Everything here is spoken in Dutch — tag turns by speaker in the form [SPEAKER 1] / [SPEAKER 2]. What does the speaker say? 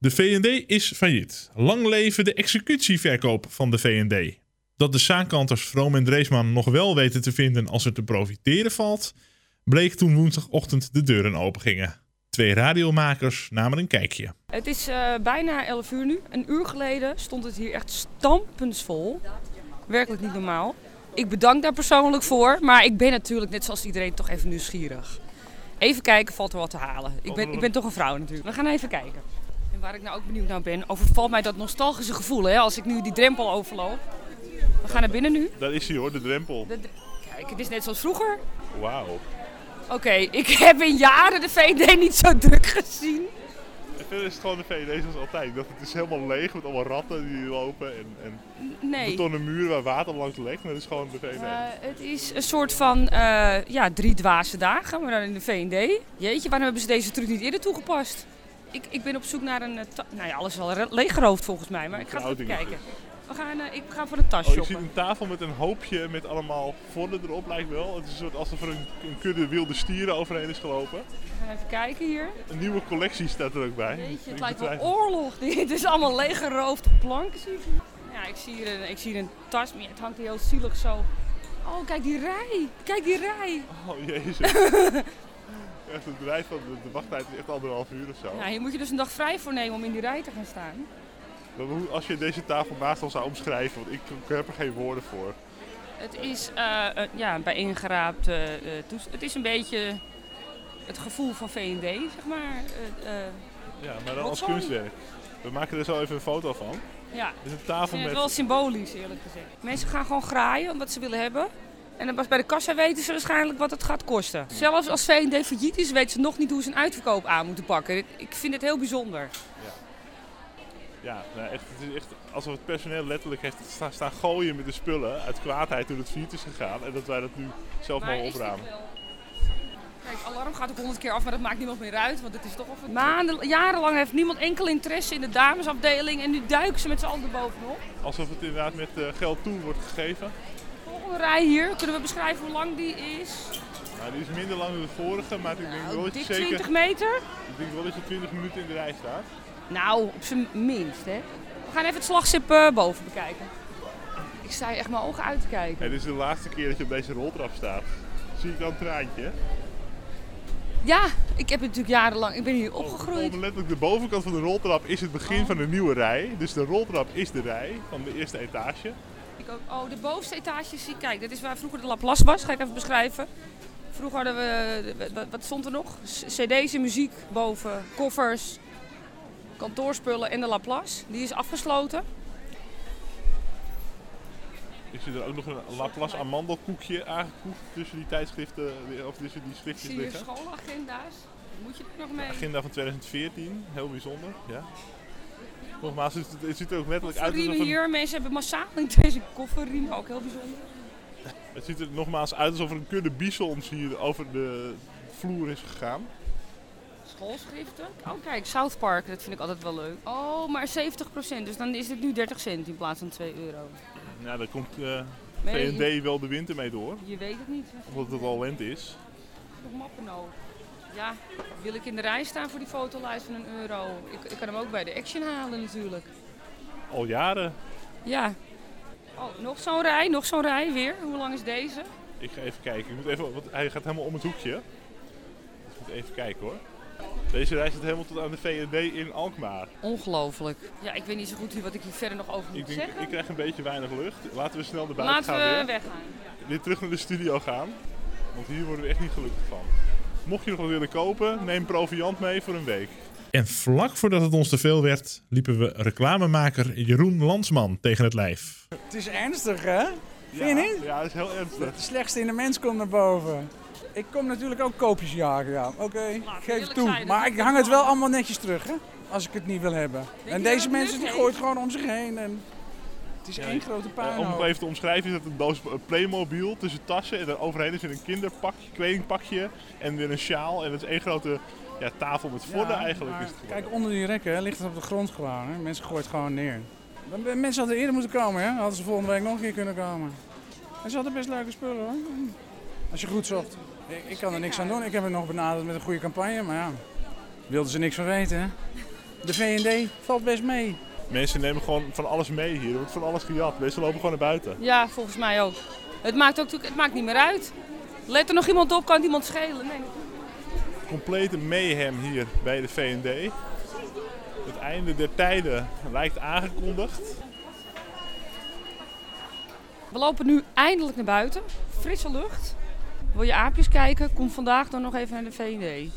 [SPEAKER 1] De VND is failliet. Lang leven de executieverkoop van de VND. Dat de zaakkanters Vroom en Dreesma nog wel weten te vinden als er te profiteren valt, bleek toen woensdagochtend de deuren opengingen. Twee radiomakers namen een kijkje.
[SPEAKER 2] Het is eh, bijna 11 uur nu. Een uur geleden stond het hier echt stampensvol. Werkelijk niet normaal. Ik bedank daar persoonlijk voor, maar ik ben natuurlijk net zoals iedereen toch even nieuwsgierig. Even kijken, valt er wat te halen. Ik ben, ik ben toch een vrouw natuurlijk. We gaan even kijken. En waar ik nou ook benieuwd naar ben, overvalt mij dat nostalgische gevoel hè, als ik nu die drempel overloop. We gaan naar binnen nu.
[SPEAKER 1] Daar is hij hoor, de drempel.
[SPEAKER 2] De- de- Kijk, het is net zoals vroeger.
[SPEAKER 1] Wauw.
[SPEAKER 2] Oké, ik heb in jaren de VD niet zo druk gezien.
[SPEAKER 1] Verder is het gewoon de VND zoals altijd. Dat het is helemaal leeg met allemaal ratten die lopen en, en
[SPEAKER 2] Nee.
[SPEAKER 1] betonnen muren waar water langs lekt. Maar dat is gewoon de VND.
[SPEAKER 2] Eh, het is een soort van eh, ja, drie dwaze dagen, maar dan in de VND. Jeetje, waarom hebben ze deze truc niet eerder toegepast? Ik, ik ben op zoek naar een... eh, ta- nou ja, alles is al re- leeggeroofd volgens mij, maar ik ga even
[SPEAKER 1] Verhoudingen
[SPEAKER 2] kijken. We gaan, eh, ik ga voor een tas
[SPEAKER 1] Oh, je ziet
[SPEAKER 2] shoppen.
[SPEAKER 1] een tafel met een hoopje met allemaal vodden erop lijkt wel. Het is een soort alsof er een, een kudde wilde stieren overheen is gelopen.
[SPEAKER 2] We gaan even kijken hier.
[SPEAKER 1] Een nieuwe collectie staat er ook bij.
[SPEAKER 2] Jeetje,
[SPEAKER 1] Ik
[SPEAKER 2] het lijkt wel
[SPEAKER 1] betwijfel.
[SPEAKER 2] oorlog. dit. Het is allemaal leeggeroofde planken, zie ik. hier. Ja, ik zie hier een, ik zie hier een tas, maar ja, het hangt hier heel zielig zo. Oh, kijk die rij. Kijk die rij.
[SPEAKER 1] Oh jezus. echt het bedrijf van de, de wachttijd is echt anderhalf uur of zo.
[SPEAKER 2] Ja, hier moet je dus een dag vrij voor nemen om in die rij te gaan staan.
[SPEAKER 1] Maar hoe- Als je deze tafel naast ons zou omschrijven, want ik, ik heb er geen woorden voor.
[SPEAKER 2] Het is eh een- ja, een bijeengeraapt eh, eh, toes- Het is een beetje het gevoel van VND, zeg maar. Eh, eh,
[SPEAKER 1] Ja, maar dan
[SPEAKER 2] Wat
[SPEAKER 1] als
[SPEAKER 2] sorry.
[SPEAKER 1] kunstwerk. We maken er zo even een foto van.
[SPEAKER 2] ja,
[SPEAKER 1] Het is een
[SPEAKER 2] ik
[SPEAKER 1] tafel
[SPEAKER 2] vind het
[SPEAKER 1] met...
[SPEAKER 2] wel symbolisch, eerlijk gezegd. Mensen gaan gewoon graaien wat ze willen hebben. En dan pas bij de kassa weten ze waarschijnlijk wat het gaat kosten. Zelfs als VND failliet is, weten ze nog niet hoe ze een uitverkoop aan moeten pakken. Dit- Ik vind het heel bijzonder.
[SPEAKER 1] Ja, nou, echt, het is echt alsof het personeel letterlijk heeft sta- staan gooien met de spullen uit kwaadheid toen het failliet is gegaan. En dat wij dat nu zelf mogen
[SPEAKER 2] is dit
[SPEAKER 1] opruimen.
[SPEAKER 2] wel- Kijk, alarm gaat ook honderd keer af, maar dat maakt niemand meer uit, want het is toch al... ver- Maanden, jarenlang heeft niemand enkel interesse in de damesafdeling en nu duiken ze met z'n allen erbovenop.
[SPEAKER 1] Alsof het inderdaad met eh, geld toe wordt gegeven.
[SPEAKER 2] Volgende rij hier, kunnen we beschrijven hoe lang die is?
[SPEAKER 1] Nou, die is minder lang dan de vorige, maar ik denk, wel
[SPEAKER 2] Nou,
[SPEAKER 1] dat je
[SPEAKER 2] dik
[SPEAKER 1] zeker,
[SPEAKER 2] 20 meter?
[SPEAKER 1] ik denk wel dat je 20 minuten in de rij staat.
[SPEAKER 2] Nou, op zijn minst, hè. We gaan even het slagschip eh, boven bekijken. Ik sta hier echt mijn ogen uit te kijken.
[SPEAKER 1] En dit is de laatste keer dat je op deze roltrap staat. Zie ik dan een traantje?
[SPEAKER 2] Ja, ik heb natuurlijk jarenlang, ik ben hier opgegroeid. Oh.
[SPEAKER 1] Op letterlijk de bovenkant van de roltrap is het begin van een nieuwe rij. Dus de roltrap is de rij van de eerste etage.
[SPEAKER 2] Ik ook, oh, de bovenste etage zie ik. Kijk, dit is waar vroeger de Laplace was. Ga ik even beschrijven. Vroeger hadden we, eh, wat, wat stond er nog? C- CD's en muziek boven, koffers, kantoorspullen en de Laplace. Die is afgesloten.
[SPEAKER 1] Ik zie er ook nog een Laplace amandelkoekje aangekoekt tussen die tijdschriften, eh, of tussen die
[SPEAKER 2] Ik
[SPEAKER 1] schriftjes
[SPEAKER 2] zie hier
[SPEAKER 1] liggen.
[SPEAKER 2] schoolagenda's. Moet je er nog mee?
[SPEAKER 1] Agenda van 2014, heel bijzonder. Ja. Nogmaals, het, het ziet er ook letterlijk uit alsof
[SPEAKER 2] Kofferriemen
[SPEAKER 1] een
[SPEAKER 2] hier, mensen hebben massaal interesse in kofferriemen, ook heel bijzonder.
[SPEAKER 1] Het ziet er nogmaals uit alsof er een kudde bisons hier over de vloer is gegaan.
[SPEAKER 2] Schoolschriften. Oh kijk, South Park, dat vind ik altijd wel leuk. Oh, maar 70 dus dan is dit nu 30 cent in plaats van 2 euro.
[SPEAKER 1] Nou, daar komt eh
[SPEAKER 2] Nee, je,
[SPEAKER 1] V&D wel de winter mee door,
[SPEAKER 2] je weet het niet, er
[SPEAKER 1] omdat het al lente is.
[SPEAKER 2] is nog mappen nodig. Ja, wil ik in de rij staan voor die fotolijst van een euro? Ik, ik kan hem ook bij de Action halen natuurlijk.
[SPEAKER 1] Al jaren.
[SPEAKER 2] Ja. Oh, nog zo'n rij, nog zo'n rij weer. Hoe lang is deze?
[SPEAKER 1] Ik ga even kijken. Ik moet even, want hij gaat helemaal om het hoekje. Dus ik moet even kijken hoor. Deze reis zit helemaal tot aan de V&D in Alkmaar.
[SPEAKER 2] Ongelooflijk. Ja, ik weet niet zo goed hier wat ik hier verder nog over moet
[SPEAKER 1] Ik, denk,
[SPEAKER 2] zeggen.
[SPEAKER 1] ik krijg een beetje weinig lucht. Laten we snel naar buiten
[SPEAKER 2] Laten
[SPEAKER 1] gaan
[SPEAKER 2] we
[SPEAKER 1] weer.
[SPEAKER 2] weggaan.
[SPEAKER 1] Weer terug naar de studio gaan. Want hier worden we echt niet gelukkig van. Mocht je nog wat willen kopen, neem proviant mee voor een week.
[SPEAKER 3] En vlak voordat het ons te veel werd, liepen we reclamemaker Jeroen Landsman tegen het lijf.
[SPEAKER 4] Het is ernstig, hè? Vind je
[SPEAKER 1] ja,
[SPEAKER 4] niet?
[SPEAKER 1] Ja, dat is heel ernstig.
[SPEAKER 4] Het slechtste in de mens komt naar boven. Ik kom natuurlijk ook koopjes jagen, ja. Oké, geef
[SPEAKER 2] eerlijk
[SPEAKER 4] het toe.
[SPEAKER 2] zijn, dat
[SPEAKER 4] maar
[SPEAKER 2] is
[SPEAKER 4] ik hang het
[SPEAKER 2] normaal.
[SPEAKER 4] wel allemaal netjes terug, hè? Als ik het niet wil hebben.
[SPEAKER 2] je
[SPEAKER 4] en
[SPEAKER 2] dat
[SPEAKER 4] deze
[SPEAKER 2] het
[SPEAKER 4] mensen
[SPEAKER 2] nut
[SPEAKER 4] die
[SPEAKER 2] heeft?
[SPEAKER 4] gooien het gewoon om zich heen. En het is
[SPEAKER 1] Ja,
[SPEAKER 4] één grote
[SPEAKER 1] Eh,
[SPEAKER 4] puinhoop.
[SPEAKER 1] om het even te omschrijven is dat een doos Playmobil tussen tassen en daar overheen is een kinderpakje, kledingpakje en weer een sjaal. En dat is één grote ja, tafel met vodden
[SPEAKER 4] Ja,
[SPEAKER 1] eigenlijk.
[SPEAKER 4] maar
[SPEAKER 1] Is het geworden.
[SPEAKER 4] kijk, onder die rekken hè, ligt het op de grond gewoon. Hè. Mensen gooien het gewoon neer. Dan- Mensen hadden eerder moeten komen, hè? Hadden ze volgende week nog een keer kunnen komen. En ze hadden best leuke spullen, hoor. Als je goed zocht. Ik, ik kan er niks aan doen. Ik heb het nog benaderd met een goede campagne, maar ja. Wilden ze niks van weten, hè? De VVD valt best mee.
[SPEAKER 1] Mensen nemen gewoon van alles mee hier. Er wordt van alles gejat. Mensen lopen gewoon naar buiten.
[SPEAKER 2] Ja, volgens mij ook. Het maakt, ook, natuurlijk- het maakt niet meer uit. Let er nog iemand op, kan het iemand schelen? Nee,
[SPEAKER 1] Complete mayhem hier bij de VND. Het einde der tijden lijkt aangekondigd.
[SPEAKER 2] We lopen nu eindelijk naar buiten. Frisse lucht. Wil je aapjes kijken? Kom vandaag dan nog even naar de VND.